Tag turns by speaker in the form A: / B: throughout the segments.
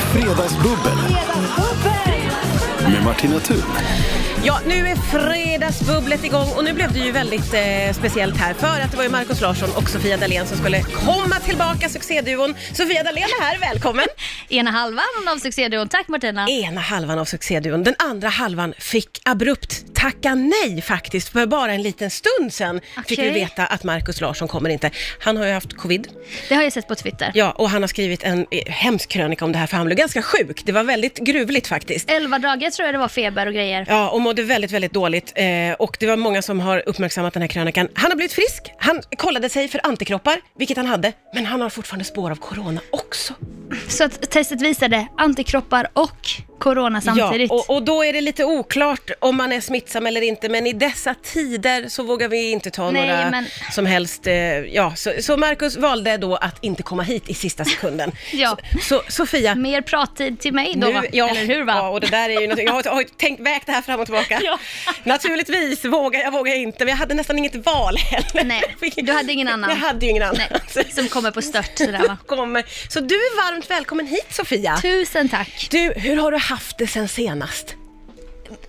A: Fredagsbubbel med Martina Thun.
B: Ja, nu är fredagsbubblet igång och nu blev det ju väldigt eh, speciellt här för att det var ju Markus Larsson och Sofia Dalén som skulle komma tillbaka, succéduon. Sofia Dalén är här, välkommen!
C: Ena halvan av succéduon. Tack Martina.
B: Ena halvan av succéduon, den andra halvan fick abrupt tacka nej faktiskt. För bara en liten stund sen fick vi
C: Okej.
B: veta att Markus Larsson kommer inte. Han har ju haft covid.
C: Det har jag sett på Twitter.
B: Ja, och han har skrivit en eh, hemsk krönika om det här för han blev ganska sjuk. Det var väldigt gruvligt faktiskt.
C: Elva dagar tror jag det var feber och grejer.
B: Ja, och mådde väldigt, väldigt dåligt. Eh, och det var många som har uppmärksammat den här krönikan. Han har blivit frisk. Han kollade sig för antikroppar, vilket han hade. Men han har fortfarande spår av corona också.
C: Så att testet visade antikroppar och corona samtidigt.
B: Ja, och, och då är det lite oklart om man är smittsam eller inte. Men i dessa tider så vågar vi inte ta
C: Nej,
B: några
C: men-
B: som helst... Eh, ja, så, så Marcus valde då att inte komma hit i sista sekunden.
C: Ja.
B: så, så, Sofia,
C: Mer prattid till mig då va?
B: ja,
C: Eller hur va?
B: Ja, och det där är ju, natur- jag har, har ju tänkt, vägt det här fram och tillbaka.
C: Ja.
B: Naturligtvis vågar jag, vågar jag inte, men jag hade nästan inget val heller.
C: Nej, du hade ingen annan.
B: Jag hade ju ingen annan.
C: Nej, som kommer på stört sådär va?
B: Kommer. Så du är varmt välkommen hit Sofia.
C: Tusen tack.
B: Du, hur har du haft det sen senast?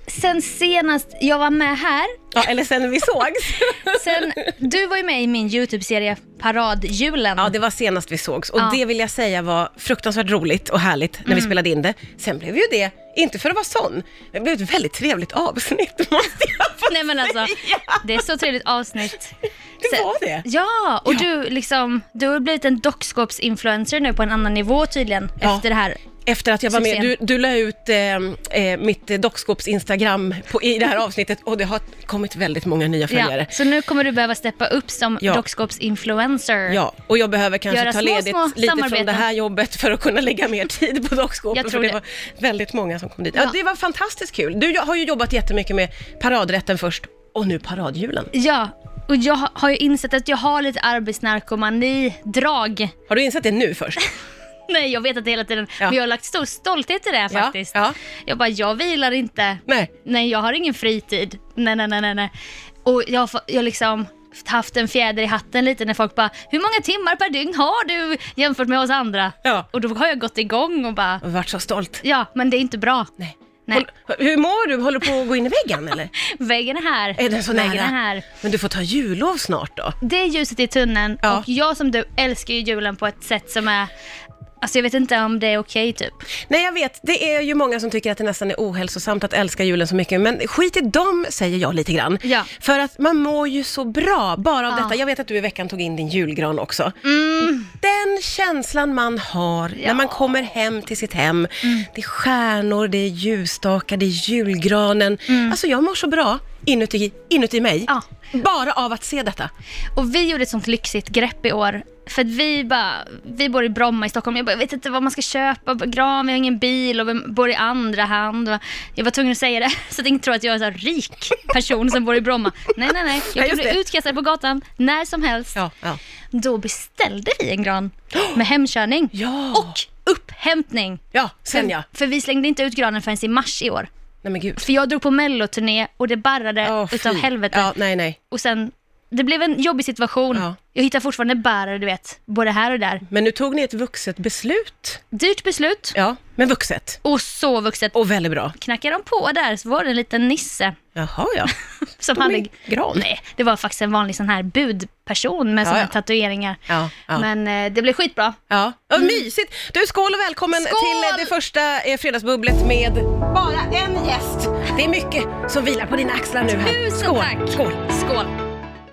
C: Sen senast jag var med här,
B: Ja, eller sen vi sågs.
C: sen du var ju med i min YouTube-serie Paradjulen.
B: Ja, det var senast vi sågs och
C: Ja. Mm.
B: det vill jag säga var fruktansvärt roligt och härligt när vi spelade in det. Sen blev ju det, inte för att vara sån, men det blev ett väldigt trevligt avsnitt måste jag få
C: Nej men alltså,
B: säga.
C: det är så trevligt avsnitt.
B: Det var det.
C: Ja, och du liksom, du har blivit en dockskåpsinfluencer nu på en annan nivå tydligen
B: Ja.
C: efter det här.
B: Efter att jag var med,
C: Succén.
B: du, du la ut eh, eh, mitt eh, dockskåps Instagram på, i det här avsnittet och det har kommit väldigt många nya
C: Ja.
B: följare. Ja.
C: Så nu kommer du behöva steppa upp som
B: Ja.
C: dockskåpsinfluencer.
B: och jag behöver kanske
C: Göra
B: ta
C: små,
B: ledigt
C: små
B: lite från
C: samarbeten.
B: det här jobbet för att kunna lägga mer tid på dockskåpet.
C: Jag tror
B: för
C: det.
B: var väldigt många som kom dit. Ja.
C: Ja.
B: det var fantastiskt kul. Du har ju jobbat jättemycket med paradrätten först och nu paradhjulen.
C: Ja, och jag har- har ju insett att jag har lite arbetsnarkomani-drag.
B: Har du insett det nu först?
C: Nej, jag vet att det hela tiden,
B: Ja.
C: men jag har lagt stor stolthet i det här
B: Ja,
C: faktiskt.
B: ja.
C: Jag bara, jag vilar inte.
B: Nej.
C: Nej, jag har ingen fritid. Nej, nej, nej, nej, nej. Och jag har fa- jag har liksom haft en fjäder i hatten lite när folk bara, hur många timmar per dygn har du jämfört med oss andra?
B: Ja.
C: Och då har jag gått igång och bara,
B: Jag har varit så stolt.
C: ja, men det är inte bra.
B: Nej.
C: Nej.
B: Håll, hur mår du? Håller du på att gå in i väggen eller?
C: Väggen är här.
B: Är den så nära?
C: Vägen är här.
B: Men du får ta jullov snart då.
C: Det är ljuset i tunneln
B: Ja.
C: och jag som du älskar ju julen på ett sätt som är, alltså jag vet inte om det är okej typ.
B: Nej, jag vet. Det är ju många som tycker att det nästan är ohälsosamt att älska julen så mycket, men skit i dem, säger jag lite grann.
C: Ja.
B: För att man mår ju så bra bara av
C: Ja. Mm.
B: detta. Jag vet att du i veckan tog in din julgran också. Den känslan man har när man kommer hem till sitt hem.
C: Mm.
B: Det är stjärnor, det är ljusstakar, det är julgranen. Alltså, jag mår så bra inuti, inuti mig.
C: Mm. Ja.
B: Bara av att se detta.
C: Och vi gjorde ett sånt lyxigt grepp i år. För att vi, bara, vi bor i Bromma i Stockholm. Jag, bara, jag vet inte vad man ska köpa. Gran, vi har ingen bil och vi bor i andra hand. Och Jag var tvungen att säga det så att ingen tror att jag är en sån här rik person som bor i Bromma. Nej, nej, nej. Jag
B: Nej,
C: kan
B: just det.
C: bli utkastad på gatan när som helst.
B: Ja, ja.
C: Då beställde vi en gran med hemkörning
B: Ja.
C: och upphämtning.
B: ja sen ja.
C: För vi slängde inte ut granen förrän i mars i år.
B: Nej men gud.
C: För jag drog på melloturné och det barrade
B: Åh,
C: Eh, utav
B: fy.
C: helvete.
B: Ja, nej, nej.
C: Och sen, det blev en jobbig situation.
B: Ja.
C: Jag hittar fortfarande bärare, du vet, både här och där.
B: Men nu tog ni ett vuxet beslut.
C: Dyrt beslut
B: Ja, men vuxet.
C: och så vuxet.
B: Och väldigt bra.
C: Knackade de på där så var det en liten nisse
B: Jaha, ja.
C: som
B: Tog
C: hade...
B: ni gran?
C: Nej, det var faktiskt en vanlig sån här budperson med såna
B: ja.
C: här tatueringar.
B: Ja, ja.
C: Men eh, det blev skitbra.
B: Ja, vad mysigt. Du, skål och välkommen
C: Skål!
B: till eh, det första eh, fredagsbubblet med bara en gäst. Det är mycket som vilar på dina axlar nu här.
C: Tusen
B: skål,
C: tack!
B: skål.
C: Skål!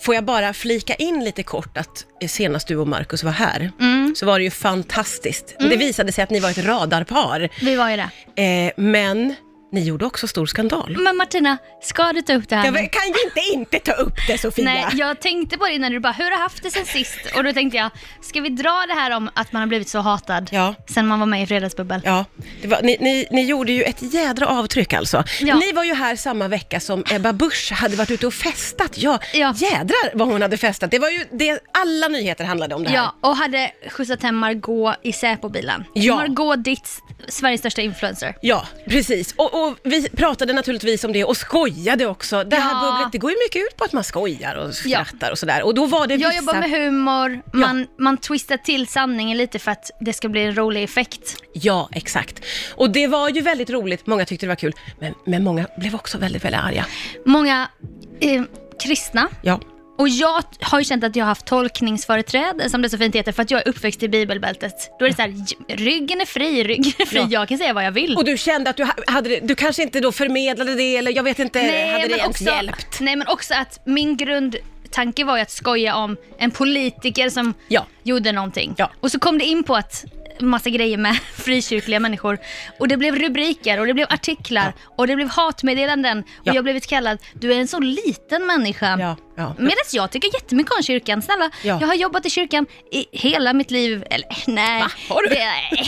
B: Får jag bara flika in lite kort att eh, senast du och Markus var här
C: Mm.
B: så var det ju fantastiskt. Det visade sig att ni var ett radarpar,
C: Vi var ju det.
B: eh, men ni gjorde också stor skandal.
C: Men Martina, ska du ta upp det här
B: Jag
C: nu?
B: vet- kan ju inte inte ta upp det Sofia.
C: Mm. Nej, jag tänkte på det innan du bara, hur har du haft det sen sist? Och då tänkte jag, ska vi dra det här om att man har blivit så hatad
B: Ja.
C: sen man var med i Fredagsbubbel?
B: Ja, det var, ni, ni, ni gjorde ju ett jädra avtryck alltså.
C: Ja.
B: Ni var ju här samma vecka som Ebba Busch hade varit ute och festat. Ja,
C: Ja.
B: jädrar vad hon hade festat. Det var ju det, alla nyheter handlade om det här.
C: Ja, och hade skjutsat hem Margot i Säpo-bilen.
B: Ja.
C: Margot Dietz, Sveriges största influencer.
B: Ja, precis. Och, och och vi pratade naturligtvis om det och skojade också. Det här
C: Ja.
B: bubblet, det går ju mycket ut på att man skojar och skrattar och sådär. Och då var det
C: Jag
B: vissa...
C: jobbar med humor, man, man twistar till sanningen lite för att det ska bli en rolig effekt.
B: Ja, exakt. Och det var ju väldigt roligt, många tyckte det var kul. Men, men många blev också väldigt, väldigt arga.
C: Många eh, kristna,
B: Ja.
C: och jag t- har ju känt att jag har haft tolkningsföreträde, som det så fint heter, för att jag är uppväxt i bibelbältet. Då är det så här, j- ryggen är fri, ryggen är fri,
B: Ja.
C: jag kan säga vad jag vill.
B: Och du kände att du, ha- hade, det- du kanske inte då förmedlade det eller jag vet inte, hade det ens hjälpt?
C: nej, men också att min grundtanke var ju att skoja om en politiker som
B: Ja.
C: gjorde någonting.
B: Ja.
C: Och så kom det in på att massa grejer med frikyrkliga människor. Och det blev rubriker och det blev artiklar och det blev hatmeddelanden
B: Ja.
C: och jag blev kallad du är en så liten människa.
B: Ja, ja.
C: Medan jag tycker jättemycket om kyrkan. Snälla,
B: Ja.
C: jag har jobbat i kyrkan i hela mitt liv. Eller nej.
B: Va? Har du?
C: Det,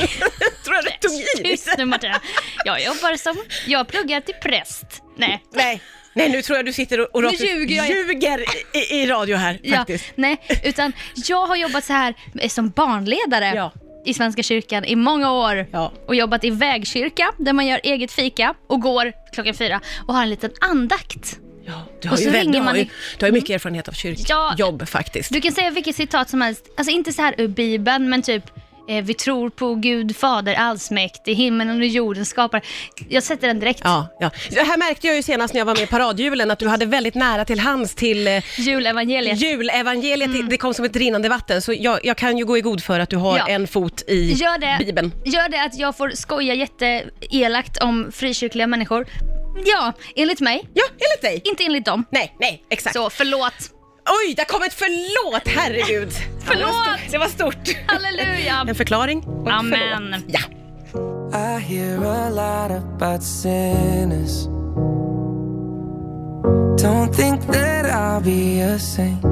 B: Tror jag du tog i
C: tyst
B: lite?
C: nu Martina. Jag jobbar som, jag pluggar till präst. Nej.
B: Nej. Nej, nu tror jag du sitter och, och
C: Nu
B: rakt ut
C: ljuger jag.
B: ljuger i, i, i radio här faktiskt.
C: nej, utan jag har jobbat så här eh, som barnledare
B: Ja.
C: i Svenska kyrkan i många år
B: Ja.
C: och jobbat i vägkyrka där man gör eget fika och går klockan fyra och har en liten andakt.
B: Ja, du har
C: Och
B: ju,
C: så
B: väl, du
C: ringer
B: har
C: man
B: ju,
C: i-
B: du har ju mycket erfarenhet av kyrkjobb faktiskt.
C: Du kan säga vilket citat som helst, alltså inte så här ur Bibeln, men typ eh, vi tror på Gud Fader allsmäktig, himlen och jorden skapar. Jag sätter den direkt.
B: Ja, ja. Det här märkte jag ju senast när jag var med i paradjulen, att du hade väldigt nära till hands till eh,
C: Julevangeliet.
B: julevangeliet. Det- Det kom som ett rinnande vatten, så jag, jag kan ju gå i god för att du har
C: Mm. Ja.
B: en fot i
C: Gör det,
B: Bibeln.
C: gör det att jag får skoja jätteelakt om frikyrkliga människor. Ja, enligt mig.
B: Ja, enligt dig.
C: Inte enligt dem.
B: Nej, nej, exakt.
C: Så förlåt.
B: Oj, där kom ett förlåt, herregud. Ja, det var
C: Förlåt.
B: stort. Det var stort.
C: Halleluja.
B: En förklaring och ett
C: Amen.
B: förlåt. Ja.
D: I hear a lot about sinners. Don't think that I'll be a saint.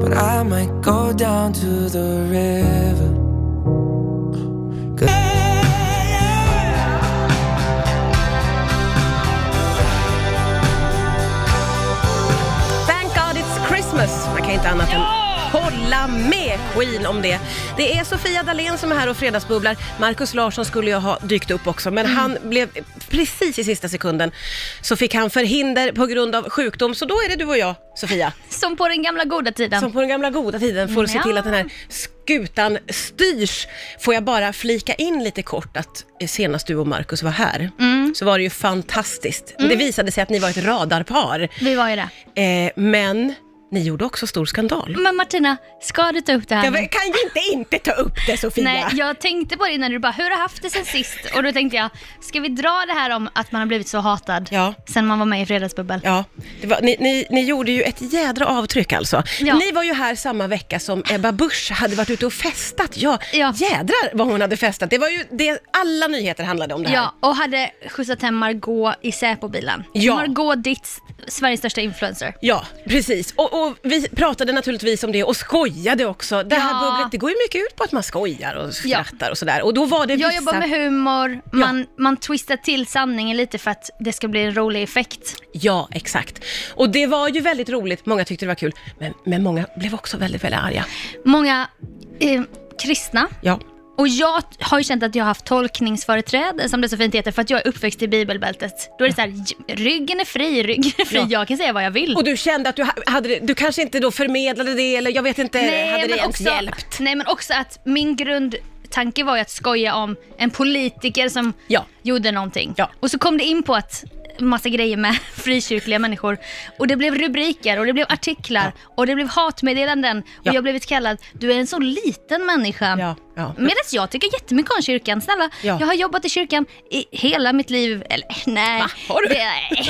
D: But I might go down to the river. Cause
B: Thank God it's Christmas. Man kan inte annat än hålla med Queen om det. Det är Sofia Dalén som är här och fredagsbubblar. Markus Larsson skulle ju ha dykt upp också, men han blev precis i sista sekunden så fick han förhinder på grund av sjukdom. Så då är det du och jag, Sofia,
C: Som på den gamla goda tiden.
B: som på den gamla goda tiden får se
C: Ja.
B: till att den här skutan styrs. Får jag bara flika in lite kort att eh, senast du och Markus var här
C: Mm.
B: så var det ju fantastiskt. Det visade sig att ni var ett radarpar.
C: Vi var ju det.
B: Eh, men ni gjorde också stor skandal.
C: Men Martina, ska du ta upp det här
B: Jag
C: nu?
B: vill- kan ju inte inte ta upp det Sofia.
C: Nej, jag tänkte på det innan du bara, hur har jag haft det sen sist? Och då tänkte jag, ska vi dra det här om att man har blivit så hatad
B: Ja.
C: sen man var med i Fredagsbubbel?
B: Ja, det var, ni, ni, ni gjorde ju ett jädra avtryck alltså.
C: Ja.
B: Ni var ju här samma vecka som Ebba Busch hade varit ute och festat. Ja,
C: Ja.
B: jädrar vad hon hade festat. Det var ju det, alla nyheter handlade om det här.
C: Ja, och hade skjutsat hem Margot i Säpo-bilen.
B: Ja.
C: Margot Dietz, Sveriges största influencer.
B: Ja, precis. Och, och vi pratade naturligtvis om det och skojade också. Det här
C: Ja.
B: bubblet, det går ju mycket ut på att man skojar och skrattar och sådär. Och då var det
C: Jag
B: vissa...
C: jobbar med humor, man, man twistar till sanningen lite för att det ska bli en rolig effekt.
B: Ja, exakt. Och det var ju väldigt roligt. Många tyckte det var kul. Men, men många blev också väldigt, väldigt arga.
C: Många eh, kristna,
B: Ja.
C: och jag t- har ju känt att jag har haft tolkningsföreträde, som det så fint heter, för att jag är uppväxt i bibelbältet. Då är det så här, j- ryggen är fri, ryggen är fri,
B: Ja.
C: jag kan säga vad jag vill.
B: Och du kände att du, ha- hade, det- du kanske inte då förmedlade det eller jag vet inte, hade det ens hjälpt?
C: Nej, men också att min grundtanke var ju att skoja om en politiker som
B: Ja.
C: gjorde någonting.
B: Ja.
C: Och så kom det in på att massa grejer med frikyrkliga människor. Och det blev rubriker och det blev artiklar och det blev hatmeddelanden
B: Ja.
C: och jag blev kallad du är en så liten människa.
B: Ja, ja.
C: Medan jag tycker jättemycket om kyrkan. Snälla,
B: Ja.
C: jag har jobbat i kyrkan i hela mitt liv. Eller nej.
B: Va? Har du?
C: Det,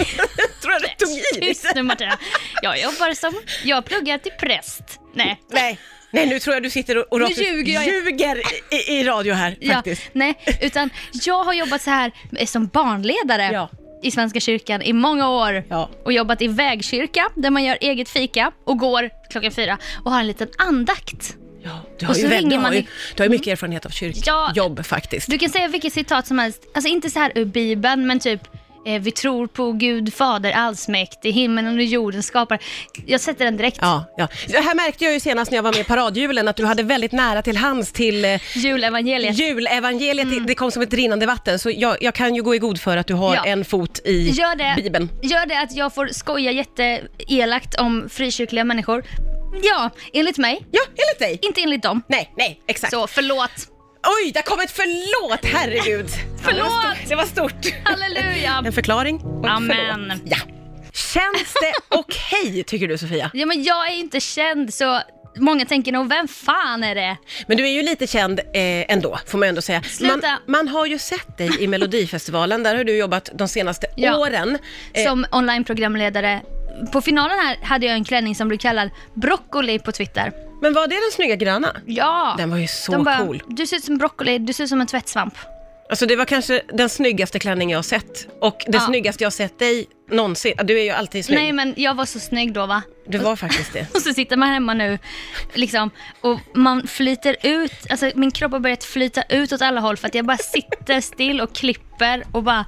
B: tror jag du tog i
C: tyst
B: lite.
C: nu Martina. Jag jobbar som, jag pluggar till präst. Nej.
B: Nej. Nej, nu tror jag du sitter och, och
C: Nu
B: rakt ut
C: ljuger jag.
B: ljuger i, i radio här faktiskt.
C: nej, utan jag har jobbat så här eh, som barnledare
B: Ja.
C: i Svenska kyrkan i många år
B: Ja.
C: och jobbat i vägkyrka där man gör eget fika och går klockan fyra och har en liten andakt.
B: Ja, du har
C: Och
B: ju
C: så
B: väl, du
C: ringer
B: har
C: man
B: ju,
C: i-
B: du har ju mycket erfarenhet av kyrkjobb faktiskt.
C: Du kan säga vilket citat som helst, alltså inte så här ur Bibeln, men typ eh, vi tror på Gud Fader allsmäktig, himmelen och jorden skapar. Jag sätter den direkt.
B: Ja, ja. Det här märkte jag ju senast när jag var med i paradjulen att du hade väldigt nära till hands till eh,
C: Julevangeliet.
B: julevangeliet. Det kom som ett rinnande vatten, så jag, jag kan ju gå i god för att du har
C: Mm. Ja.
B: en fot i
C: Gör det,
B: Bibeln.
C: gör det att jag får skoja jätteelakt om frikyrkliga människor. Ja, enligt mig.
B: Ja, enligt dig.
C: Inte enligt dem.
B: Nej, nej, exakt.
C: Så förlåt.
B: Oj, där kom ett förlåt, herregud.
C: Förlåt!
B: Det var stort.
C: Halleluja!
B: En förklaring och ett
C: Amen.
B: förlåt. Ja. Känns det okej, tycker du Sofia?
C: Ja, men jag är inte känd så många tänker nog, vem fan är det?
B: Men du är ju lite känd eh, ändå, får man ju ändå säga.
C: Sluta.
B: Man, man har ju sett dig i Melodifestivalen, där har du jobbat de senaste
C: Ja.
B: åren. Eh,
C: Som onlineprogramledare. På finalen här hade jag en klänning som blev kallad broccoli på Twitter.
B: Men var det den snygga gröna?
C: Ja!
B: Den var ju så
C: De bara,
B: cool.
C: Du ser ut som broccoli, du ser ut som en tvättsvamp.
B: Alltså det var kanske den snyggaste klänning jag har sett. Och det
C: Ja.
B: snyggaste jag har sett dig någonsin. Du är ju alltid snygg.
C: Nej men jag var så snygg då va?
B: Du var faktiskt det.
C: Och så sitter man hemma nu liksom, och man flyter ut, alltså min kropp har börjat flyta ut åt alla håll för att jag bara sitter still och klipper och bara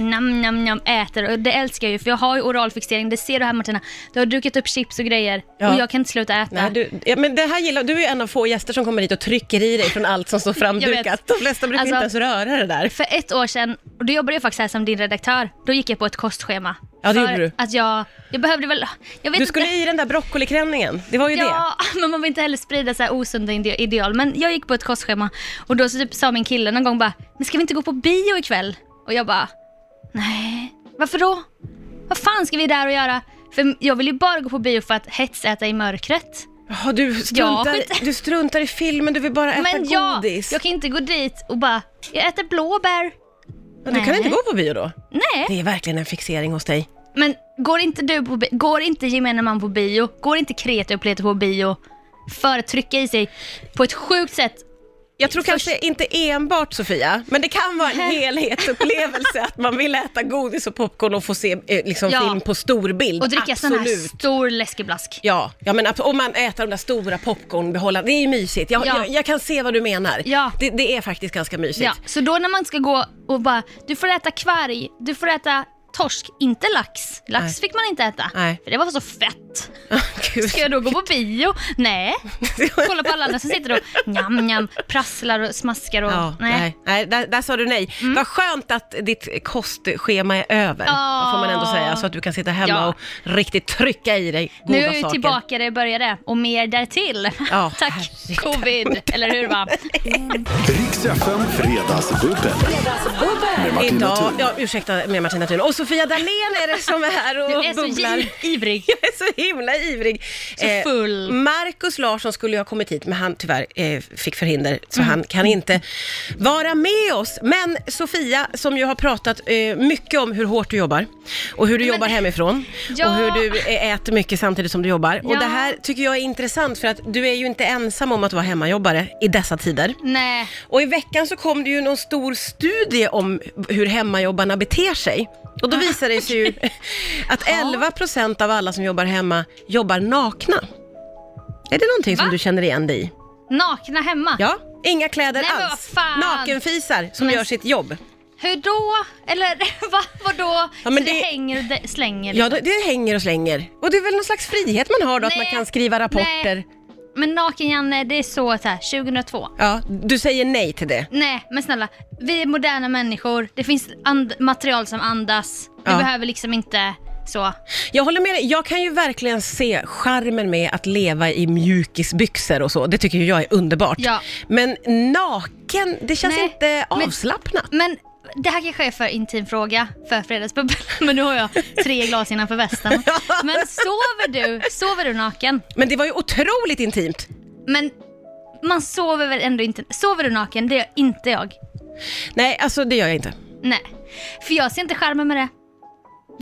C: nam nam nam äter och det älskar jag ju för jag har ju oralfixering, det ser du här Martina. Du har dukat upp chips och grejer
B: Ja.
C: och jag kan inte sluta äta.
B: Nej, du, ja, men det här gillar, du är ju en av få gäster som kommer hit och trycker i dig från allt som står
C: Jag
B: framdukat.
C: vet.
B: De flesta brukar
C: Alltså-
B: inte ens röra det där.
C: För ett år sedan, och då jobbade jag faktiskt här som din redaktör, då gick jag på ett kostschema.
B: Ja, det
C: för
B: gjorde du.
C: att jag, jag behövde väl, jag vet
B: Du skulle
C: inte.
B: i den där broccoliklänningen, det var ju det.
C: Ja, men man vill inte heller sprida så här osunda ide- ideal. Men jag gick på ett kostschema och då så typ sa min kille någon gång bara, men ska vi inte gå på bio ikväll? Och jag bara, nej, varför då? Vad fan ska vi där och göra? För jag vill ju bara gå på bio för att hetsäta i mörkret.
B: Jaha, du, struntar,
C: Ja, skit.
B: du struntar i filmen, du vill bara äta
C: men jag,
B: godis.
C: jag kan inte gå dit och bara, jag äter blåbär.
B: Ja, du kan
C: Nej.
B: inte gå på bio då?
C: Nej,
B: Det är verkligen en fixering hos dig.
C: men går inte du på bi- går inte gemene man på bio, går inte kreti och pleti på bio för att trycka i sig på ett sjukt sätt
B: Jag tror
C: Först-
B: kanske inte enbart Sofia, men det kan vara en helhetsupplevelse att man vill äta godis och popcorn och få se eh, liksom,
C: Ja.
B: film på storbild.
C: och dricka sån här
B: Absolut.
C: stor läskeblask.
B: Ja, ja men abs- om man äter de där stora popcornbehållarna, det är ju mysigt. Jag,
C: Ja.
B: jag, jag kan se vad du menar.
C: Ja.
B: Det, det är faktiskt ganska mysigt.
C: Ja, så då när man ska gå och bara, du får äta kvarg, du får äta torsk, inte lax. Lax
B: Nej.
C: fick man inte äta,
B: Nej.
C: för det var så fett.
B: Gud.
C: Ska jag då gå på bio? Nej. Kolla på alla andra som sitter och njam, njam, prasslar och smaskar och
B: Ja, nej.
C: nej. Mm.
B: Nej, där, där sa du nej. Vad skönt att ditt kostschema är över,
C: Ja.
B: får man ändå säga, så att du kan sitta hemma
C: Ja.
B: och riktigt trycka i dig
C: Nu
B: goda
C: är jag ju
B: saker.
C: tillbaka där jag började och mer därtill.
B: Ja,
C: Tack
B: herregud.
C: covid, eller hur va?
A: Riks FM Fredagsbubbel. Med Martina
B: Idag,
A: Thun.
B: ja, ursäkta med Martina Thun. Och Sofia Dalén är det som är här och
C: Du är så
B: bubblar.
C: giv- ivrig.
B: Jag är så himla ivrig.
C: Så full.
B: Markus Larsson skulle ju ha kommit hit, men han tyvärr eh, fick förhinder, så
C: Mm.
B: han kan inte vara med oss. Men Sofia, som ju har pratat eh, mycket om hur hårt du jobbar, och hur du
C: Men-
B: jobbar hemifrån,
C: Ja.
B: och hur du eh, äter mycket samtidigt som du jobbar. Och
C: Ja.
B: det här tycker jag är intressant, för att du är ju inte ensam om att vara hemmajobbare i dessa tider.
C: Nej,
B: Och i veckan så kom det ju någon stor studie om hur hemmajobbarna beter sig. Och då
C: Ah,
B: visade det sig ju att 11 procent av alla som jobbar hemma jobbar nakna. Är det någonting som
C: Va?
B: du känner igen dig i?
C: nakna hemma.
B: Ja, inga kläder
C: Nej, men vad
B: alls.
C: fan.
B: Nakenfisar som
C: Men-
B: gör sitt jobb.
C: Hur då? Eller va, vadå?
B: Ja, men
C: så det
B: det-
C: hänger och det slänger?
B: Ja, det- det hänger och slänger. Och det är väl någon slags frihet man har då, att man
C: Nej.
B: kan skriva rapporter.
C: Nej. Men Naken-Janne, det är så, så här, 2002.
B: Ja, du säger nej till det.
C: Nej, men snälla. Vi är moderna människor. Det finns and- material som andas. Vi
B: Ja.
C: behöver liksom inte så.
B: Jag håller med dig. Jag kan ju verkligen se charmen med att leva i mjukisbyxor och så. Det tycker ju jag är underbart.
C: Ja.
B: Men naken, det känns
C: Nej,
B: inte
C: men-
B: avslappnat.
C: Men det här kanske är för intim fråga för Fredagsbubbel. Men nu har jag tre glas innanför västen. Men sover du, sover du naken?
B: Men det var ju otroligt intimt.
C: Men man sover väl ändå inte... Sover du naken? Det gör inte jag.
B: Nej, alltså det gör jag inte.
C: Nej. För jag ser inte charmen med det.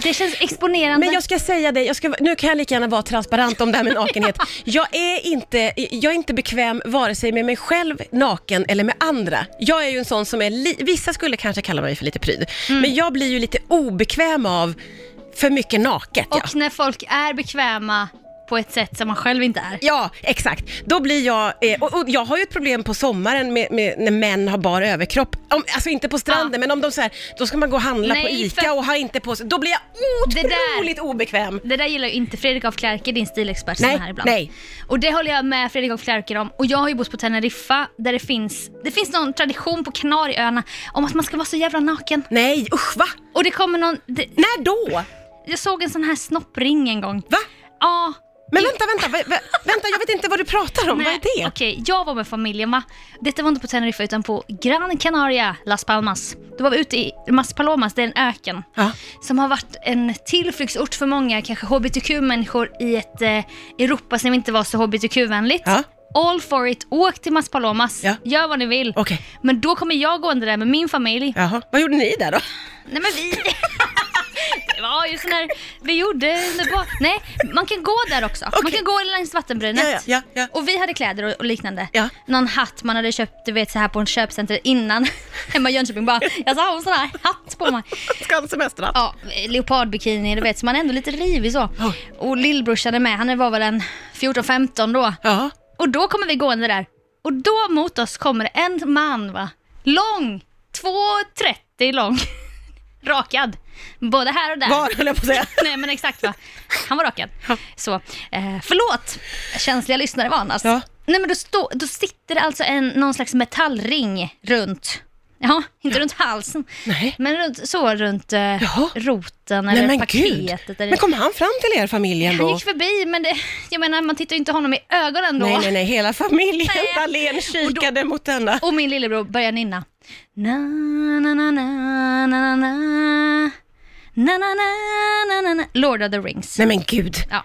C: Det känns exponerande.
B: Men jag ska säga det, jag ska, nu kan jag lika gärna vara transparent om det här med nakenhet. Jag är, inte, jag är inte bekväm vare sig med mig själv naken eller med andra. Jag är ju en sån som är, li, vissa skulle kanske kalla mig för lite pryd,
C: Mm.
B: men jag blir ju lite obekväm av för mycket naket. ja.
C: Och när folk är bekväma på ett sätt som man själv inte är.
B: Ja, exakt. Då blir jag, eh, och, och jag har ju ett problem på sommaren med, med, när män har bara överkropp. Om, alltså inte på stranden,
C: Ja.
B: men om de så här, då ska man gå och handla på
C: Nej,
B: ICA
C: för-
B: och ha inte på sig, då blir jag
C: Det där-
B: otroligt obekväm.
C: Det där gillar ju inte Fredrik af Klerke, din stilexpert som
B: Nej,
C: är här ibland.
B: nej.
C: Och det håller jag med Fredrik af Klerke om. Och jag har ju bott på Teneriffa där det finns, det finns någon tradition på Kanarieöarna om att man ska vara så jävla naken.
B: Nej, usch va?
C: Och det kommer någon, det,
B: När då?
C: jag såg en sån här snoppring en gång.
B: Va?
C: Ja.
B: Men vänta, vänta, vä- vä- vänta, jag vet inte vad du pratar om, vad
C: nej,
B: är det?
C: Okej, jag var med familjen va. Detta var inte på Teneriffa utan på Gran Canaria, Las Palmas. Då var vi ute i Mas Palomas, det är en öken.
B: Ja.
C: som har varit en tillflyktsort för många, kanske hbtq-människor i ett eh, Europa som inte var så hbtq-vänligt.
B: Ja.
C: All for it, åk till Mas Palomas,
B: Ja.
C: gör vad ni vill.
B: Okej.
C: Men då kommer jag gående där med min familj.
B: Jaha, vad gjorde ni där då?
C: Nej men vi... det var ju sån här, vi gjorde underbart. Nej, man kan gå där också. Man
B: Okej.
C: kan gå längs vattenbrynet.
B: Ja, ja, ja, ja.
C: Och vi hade kläder och, och liknande.
B: Ja.
C: Någon hatt man hade köpt, du vet så här på en köpcenter innan. Hemma i Jönköping bara, jag sa hon sån här hatt på mig.
B: Skansemestern?
C: Ja, leopardbikini, du vet. Så man är ändå lite rivig så. Och lillbrorsan är med, han var väl en 14-15 då.
B: Ja.
C: Och då kommer vi gående där. Och då mot oss kommer en man va. Lång! 2,30 lång. Rakad. Både här och där.
B: Var höll jag på att säga.
C: Nej men exakt va. Han var rakad. Så, eh, förlåt känsliga lyssnare varnas.
B: Ja.
C: Nej men då, stå, då sitter det alltså en, någon slags metallring runt, ja inte runt halsen,
B: Nej.
C: men runt, så runt eh,
B: Jaha.
C: roten
B: Nej
C: eller
B: men gud.
C: paketet. Eller,
B: Men kom han fram till er familjen
C: han
B: då?
C: gick förbi men det, jag menar man tittar ju inte honom i ögonen då.
B: Nej, nej, nej, hela familjen
C: Nej.
B: Dahlén kikade mot denna.
C: Och min lillebror börjar nynna. Na, na, na, na, na, na, na. Na, na, na, na, na, na. Lord of the rings.
B: Nej men gud,
C: Ja.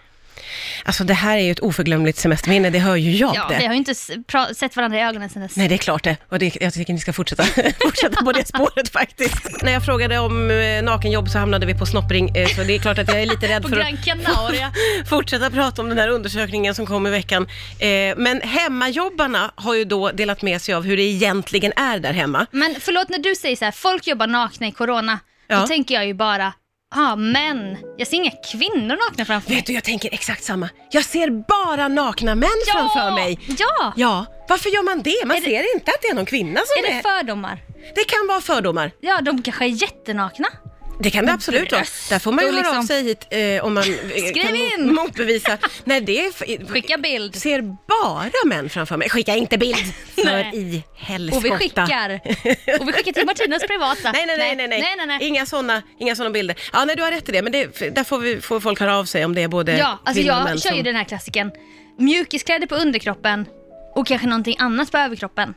B: alltså det här är ju ett oförglömligt semesterminne, det hör ju jag
C: Ja,
B: det.
C: vi har ju inte s- pra- sett varandra i ögonen sen dess.
B: Nej, det är klart det. Och det, jag tycker ni ska fortsätta, fortsätta på det spåret faktiskt. När jag frågade om eh, nakenjobb så hamnade vi på snoppring, eh, så det är klart att jag är lite rädd
C: På
B: för
C: Gran
B: att
C: Canaria.
B: fortsätta prata om den här undersökningen som kom i veckan. Eh, men hemmajobbarna har ju då delat med sig av hur det egentligen är där hemma.
C: Men förlåt, när du säger så här, folk jobbar nakna i corona,
B: Ja.
C: då tänker jag ju bara, ja ah, men, jag ser inga kvinnor nakna framför mig.
B: Vet du, jag tänker exakt samma. Jag ser bara nakna män framför mig.
C: Ja!
B: Ja, varför gör man det? Man
C: Är det-
B: ser inte att det är någon kvinna som
C: Är
B: är...
C: det fördomar?
B: Det kan vara fördomar.
C: Ja, de kanske är jättenakna.
B: Det kan det absolut vara.
C: bröst
B: Där får man ju
C: och
B: höra av
C: liksom-
B: sig hit eh, om man eh,
C: Skriv
B: kan mo-
C: in!
B: motbevisa. Nej, det är... f-
C: Skicka bild.
B: Ser bara män framför mig. Skicka inte bild! För
C: Nej.
B: i helskotta.
C: Och vi skickar. Och vi skickar till Martinas privata.
B: Nej nej nej, nej, nej.
C: nej, nej, nej.
B: Inga sådana inga såna bilder. Ja, nej, du har rätt i det, men det, f- där får, vi, får folk höra av sig om det är både
C: Ja, alltså
B: kvinnor och
C: jag
B: män
C: kör ju
B: som...
C: den här klassiken. Mjukiskläder på underkroppen och kanske någonting annat på överkroppen.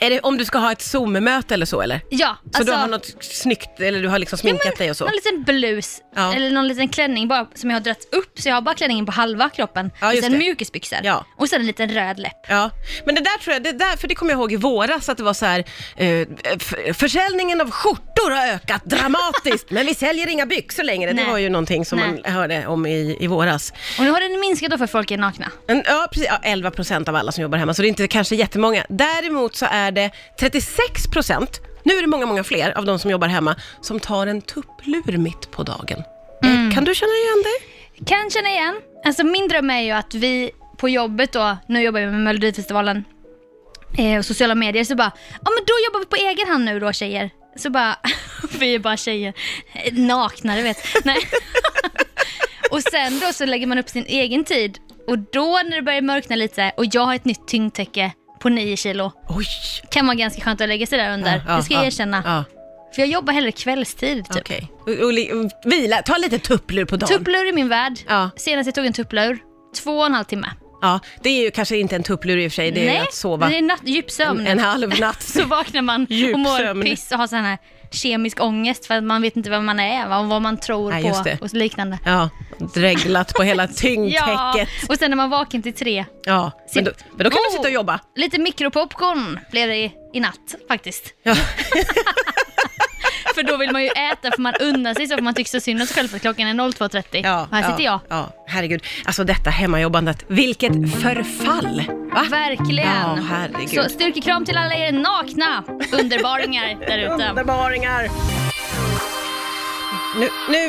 B: Är det om du ska ha ett Zoom-möte eller så eller?
C: Ja,
B: Så
C: alltså.
B: du har något snyggt, eller du har liksom
C: Ja, men
B: sminkat dig och så?
C: Någon liten blus
B: Ja.
C: eller någon liten klänning bara, som jag har dragit upp så jag har bara klänningen på halva kroppen.
B: Ja,
C: och
B: just
C: sen
B: det.
C: mjukisbyxor.
B: Ja.
C: Och sen en liten röd läpp.
B: Ja, men det där tror jag, det där, för det kommer jag ihåg i våras att det var så här, eh, f- försäljningen av skjortor har ökat dramatiskt, men vi säljer inga byxor längre.
C: Nej.
B: Det var ju någonting som
C: Nej.
B: man hörde om i, i våras.
C: Och nu har den minskat då för folk är nakna.
B: Men, ja, precis, ja, 11 procent av alla som jobbar hemma, så det är inte kanske jättemånga. Däremot så är det 36 procent, nu är det många, många fler av de som jobbar hemma, som tar en tupplur mitt på dagen. Eh,
C: Mm.
B: Kan du känna igen dig?
C: Kan känna igen. Alltså min dröm är ju att vi på jobbet då, nu jobbar vi med Melodifestivalen eh, och sociala medier, så bara, ja men då jobbar vi på egen hand nu då tjejer. Så bara, vi är bara tjejer, Eh, nakna du vet. Nej. och sen då så lägger man upp sin egen tid och då när det börjar mörkna lite och jag har ett nytt tyngdtäcke på 9 kilo,
B: Oj!
C: kan vara ganska skönt att lägga sig där under.
B: Ja,
C: det ska
B: ja,
C: jag erkänna.
B: Ja,
C: För jag jobbar hellre kvällstid typ.
B: okej. Och- och li- och Vila, ta lite tupplur på dagen.
C: Tupplur i min värld.
B: Ja.
C: Senast jag tog en tupplur, två och en halv timme.
B: Ja, det är ju kanske inte en tupplur i och för sig, det är ju
C: Nej,
B: att sova
C: det är natt, djupsömn.
B: en, en halv natt.
C: så vaknar man och
B: Djupsömn.
C: mår piss och har sån här kemisk ångest för att man vet inte vem man är va? och vad man tror
B: Nej, just det.
C: på och liknande.
B: Ja, dreglat på hela
C: Ja,
B: tyngdtäcket.
C: och sen när man vaken till tre.
B: Ja, men då, men då kan
C: Oh!
B: du sitta och jobba.
C: Lite mikropopcorn blev det i, i natt faktiskt.
B: Ja.
C: För då vill man ju äta för man unnar sig så för man tycker så synd om sig själv för klockan är 02.30.
B: Ja,
C: och här sitter jag.
B: Ja, ja, herregud. Alltså detta hemmajobbandet, vilket förfall! Va? Ja,
C: Verkligen.
B: herregud.
C: så styrkekram till alla er nakna underbaringar där ute.
B: Underbaringar! Nu, nu,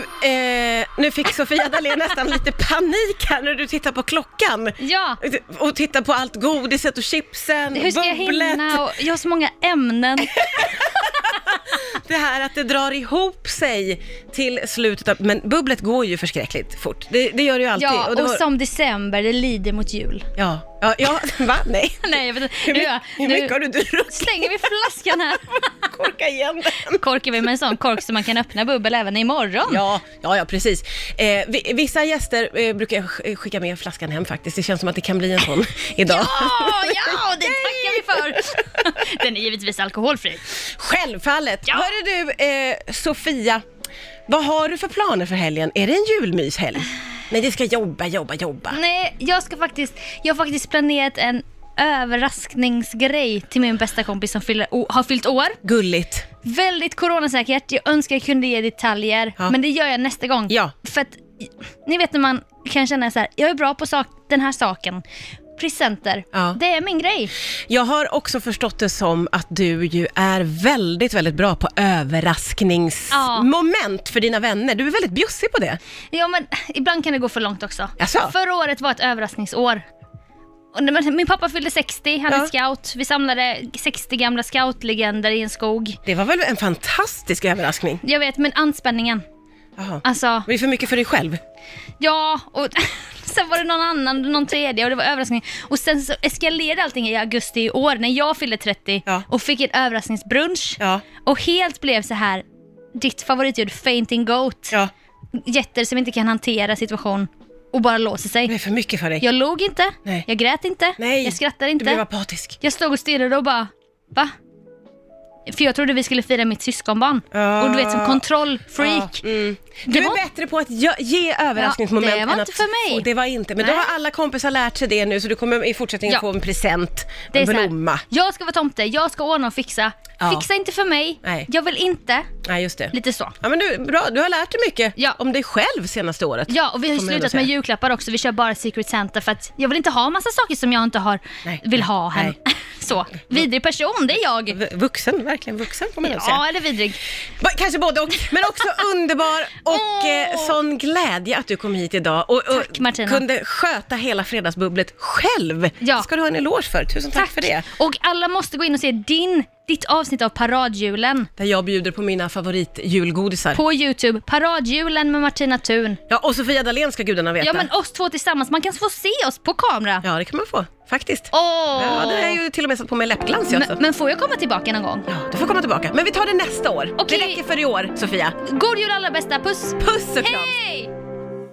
B: eh, nu fick Sofia Dalén nästan lite panik här när du tittar på klockan.
C: Ja.
B: Och tittar på allt godiset och chipsen,
C: Hur ska jag
B: bubblet.
C: hinna? Och, jag har så många ämnen.
B: Det här att det drar ihop sig till slutet av... Men bubblet går ju förskräckligt fort. Det, det gör det ju alltid.
C: Ja,
B: då-
C: och som december, det lider mot jul.
B: ja, ja, ja, va? Nej.
C: Nej, jag vet inte.
B: Hur,
C: Nu-
B: mycket, hur
C: nu-
B: mycket har du druckit?
C: Slänger vi flaskan här?
B: Korka igen den.
C: Korkar vi med en sån kork så man kan öppna bubbel även imorgon?
B: Ja, ja, ja precis. Eh, vi- vissa gäster eh, brukar jag sk- skicka med flaskan hem faktiskt. Det känns som att det kan bli en sån idag.
C: Ja, ja, det tackar vi för! Den är givetvis alkoholfri.
B: Självfallet!
C: Ja.
B: Hörru du, eh, Sofia, vad har du för planer för helgen? Är det en julmyshelg? Nej, det ska jobba, jobba, jobba.
C: Nej, jag ska faktiskt, jag har faktiskt planerat en överraskningsgrej till min bästa kompis som fyller, o- har fyllt år.
B: Gulligt.
C: Väldigt coronasäkert, jag önskar jag kunde ge detaljer,
B: Ja.
C: men det gör jag nästa gång.
B: Ja.
C: För att, ni vet när man kan känna så här, jag är bra på sak, den här saken. Presenter,
B: Ja.
C: det är min grej.
B: Jag har också förstått det som att du ju är väldigt, väldigt bra på överraskningsmoment för dina vänner. Du är väldigt bjussig på det.
C: Ja, men ibland kan det gå för långt också.
B: Jaså?
C: Förra året var ett överraskningsår. Och när man- Min pappa fyllde 60, han är
B: Ja.
C: scout. Vi samlade 60 gamla scoutlegender i en skog.
B: Det var väl en fantastisk överraskning?
C: Jag vet, men anspänningen.
B: Jaha.
C: Alltså,
B: Det är för mycket för dig själv.
C: ja, och sen var det någon annan, någon tredje och det var överraskning. Och sen så eskalerade allting i augusti i år när jag fyllde 30
B: Ja.
C: och fick en överraskningsbrunch.
B: Ja.
C: Och helt blev så här, ditt favoritljud, fainting goat.
B: Ja.
C: Jätter som inte kan hantera situation och bara låser sig.
B: Det är för mycket för dig.
C: Jag log inte,
B: Nej.
C: jag grät inte,
B: Nej.
C: jag skrattade
B: Du blev
C: inte.
B: apatisk.
C: Jag stod och stirrade och bara, va? För jag trodde vi skulle fira mitt syskonbarn. Och du vet som kontrollfreak.
B: Ja, mm. Du
C: Det var-
B: är bättre på att ge, ge överraskningsmoment
C: Ja, det var
B: än
C: inte
B: att
C: för mig.
B: få- Det var inte, men då
C: Nej.
B: har alla kompisar lärt sig det nu så du kommer i fortsättningen
C: Ja.
B: få en present,
C: Det är
B: en
C: så här,
B: blomma.
C: jag ska vara tomte, jag ska ordna och fixa.
B: Ja.
C: Fixa inte för mig,
B: Nej.
C: jag vill inte.
B: Nej, just det.
C: Lite så.
B: Ja, men du, bra, du har lärt dig mycket
C: Ja.
B: om dig själv senaste året.
C: Ja, och vi har ju
B: Får man ändå
C: slutat
B: säga.
C: med julklappar också. Vi kör bara Secret Santa för att jag vill inte ha massa saker som jag inte har,
B: Nej.
C: vill ha hem.
B: Nej.
C: Så, vidrig person, det är jag.
B: V- Vuxen, verkligen vuxen får man nog säga.
C: Ja, eller vidrig.
B: Va- Kanske både och, men också underbar och
C: Åh.
B: eh, sån glädje att du kom hit idag och, och
C: Tack, Martina.
B: kunde sköta hela fredagsbubblet själv.
C: Ja.
B: Det ska du ha en eloge för. Tusen tack, för det.
C: Och alla måste gå in och se din, ditt avsnitt av Paradjulen
B: Där jag bjuder på mina favoritjulgodisar.
C: på Youtube. Paradjulen med Martina Thun.
B: Ja, och Sofia Dalén ska gudarna veta.
C: Ja, men oss två tillsammans. Man kan få se oss på kamera.
B: Ja, det kan man få, faktiskt.
C: Åh!
B: Ja, det är ju till och med satt på mig läppglans. jag, så.
C: men, men får jag komma tillbaka någon gång?
B: Ja, du får komma tillbaka. Men vi tar det nästa år.
C: Okej.
B: Det räcker för i år, Sofia.
C: God jul alla bästa, puss!
B: Puss och kram.
C: Hej!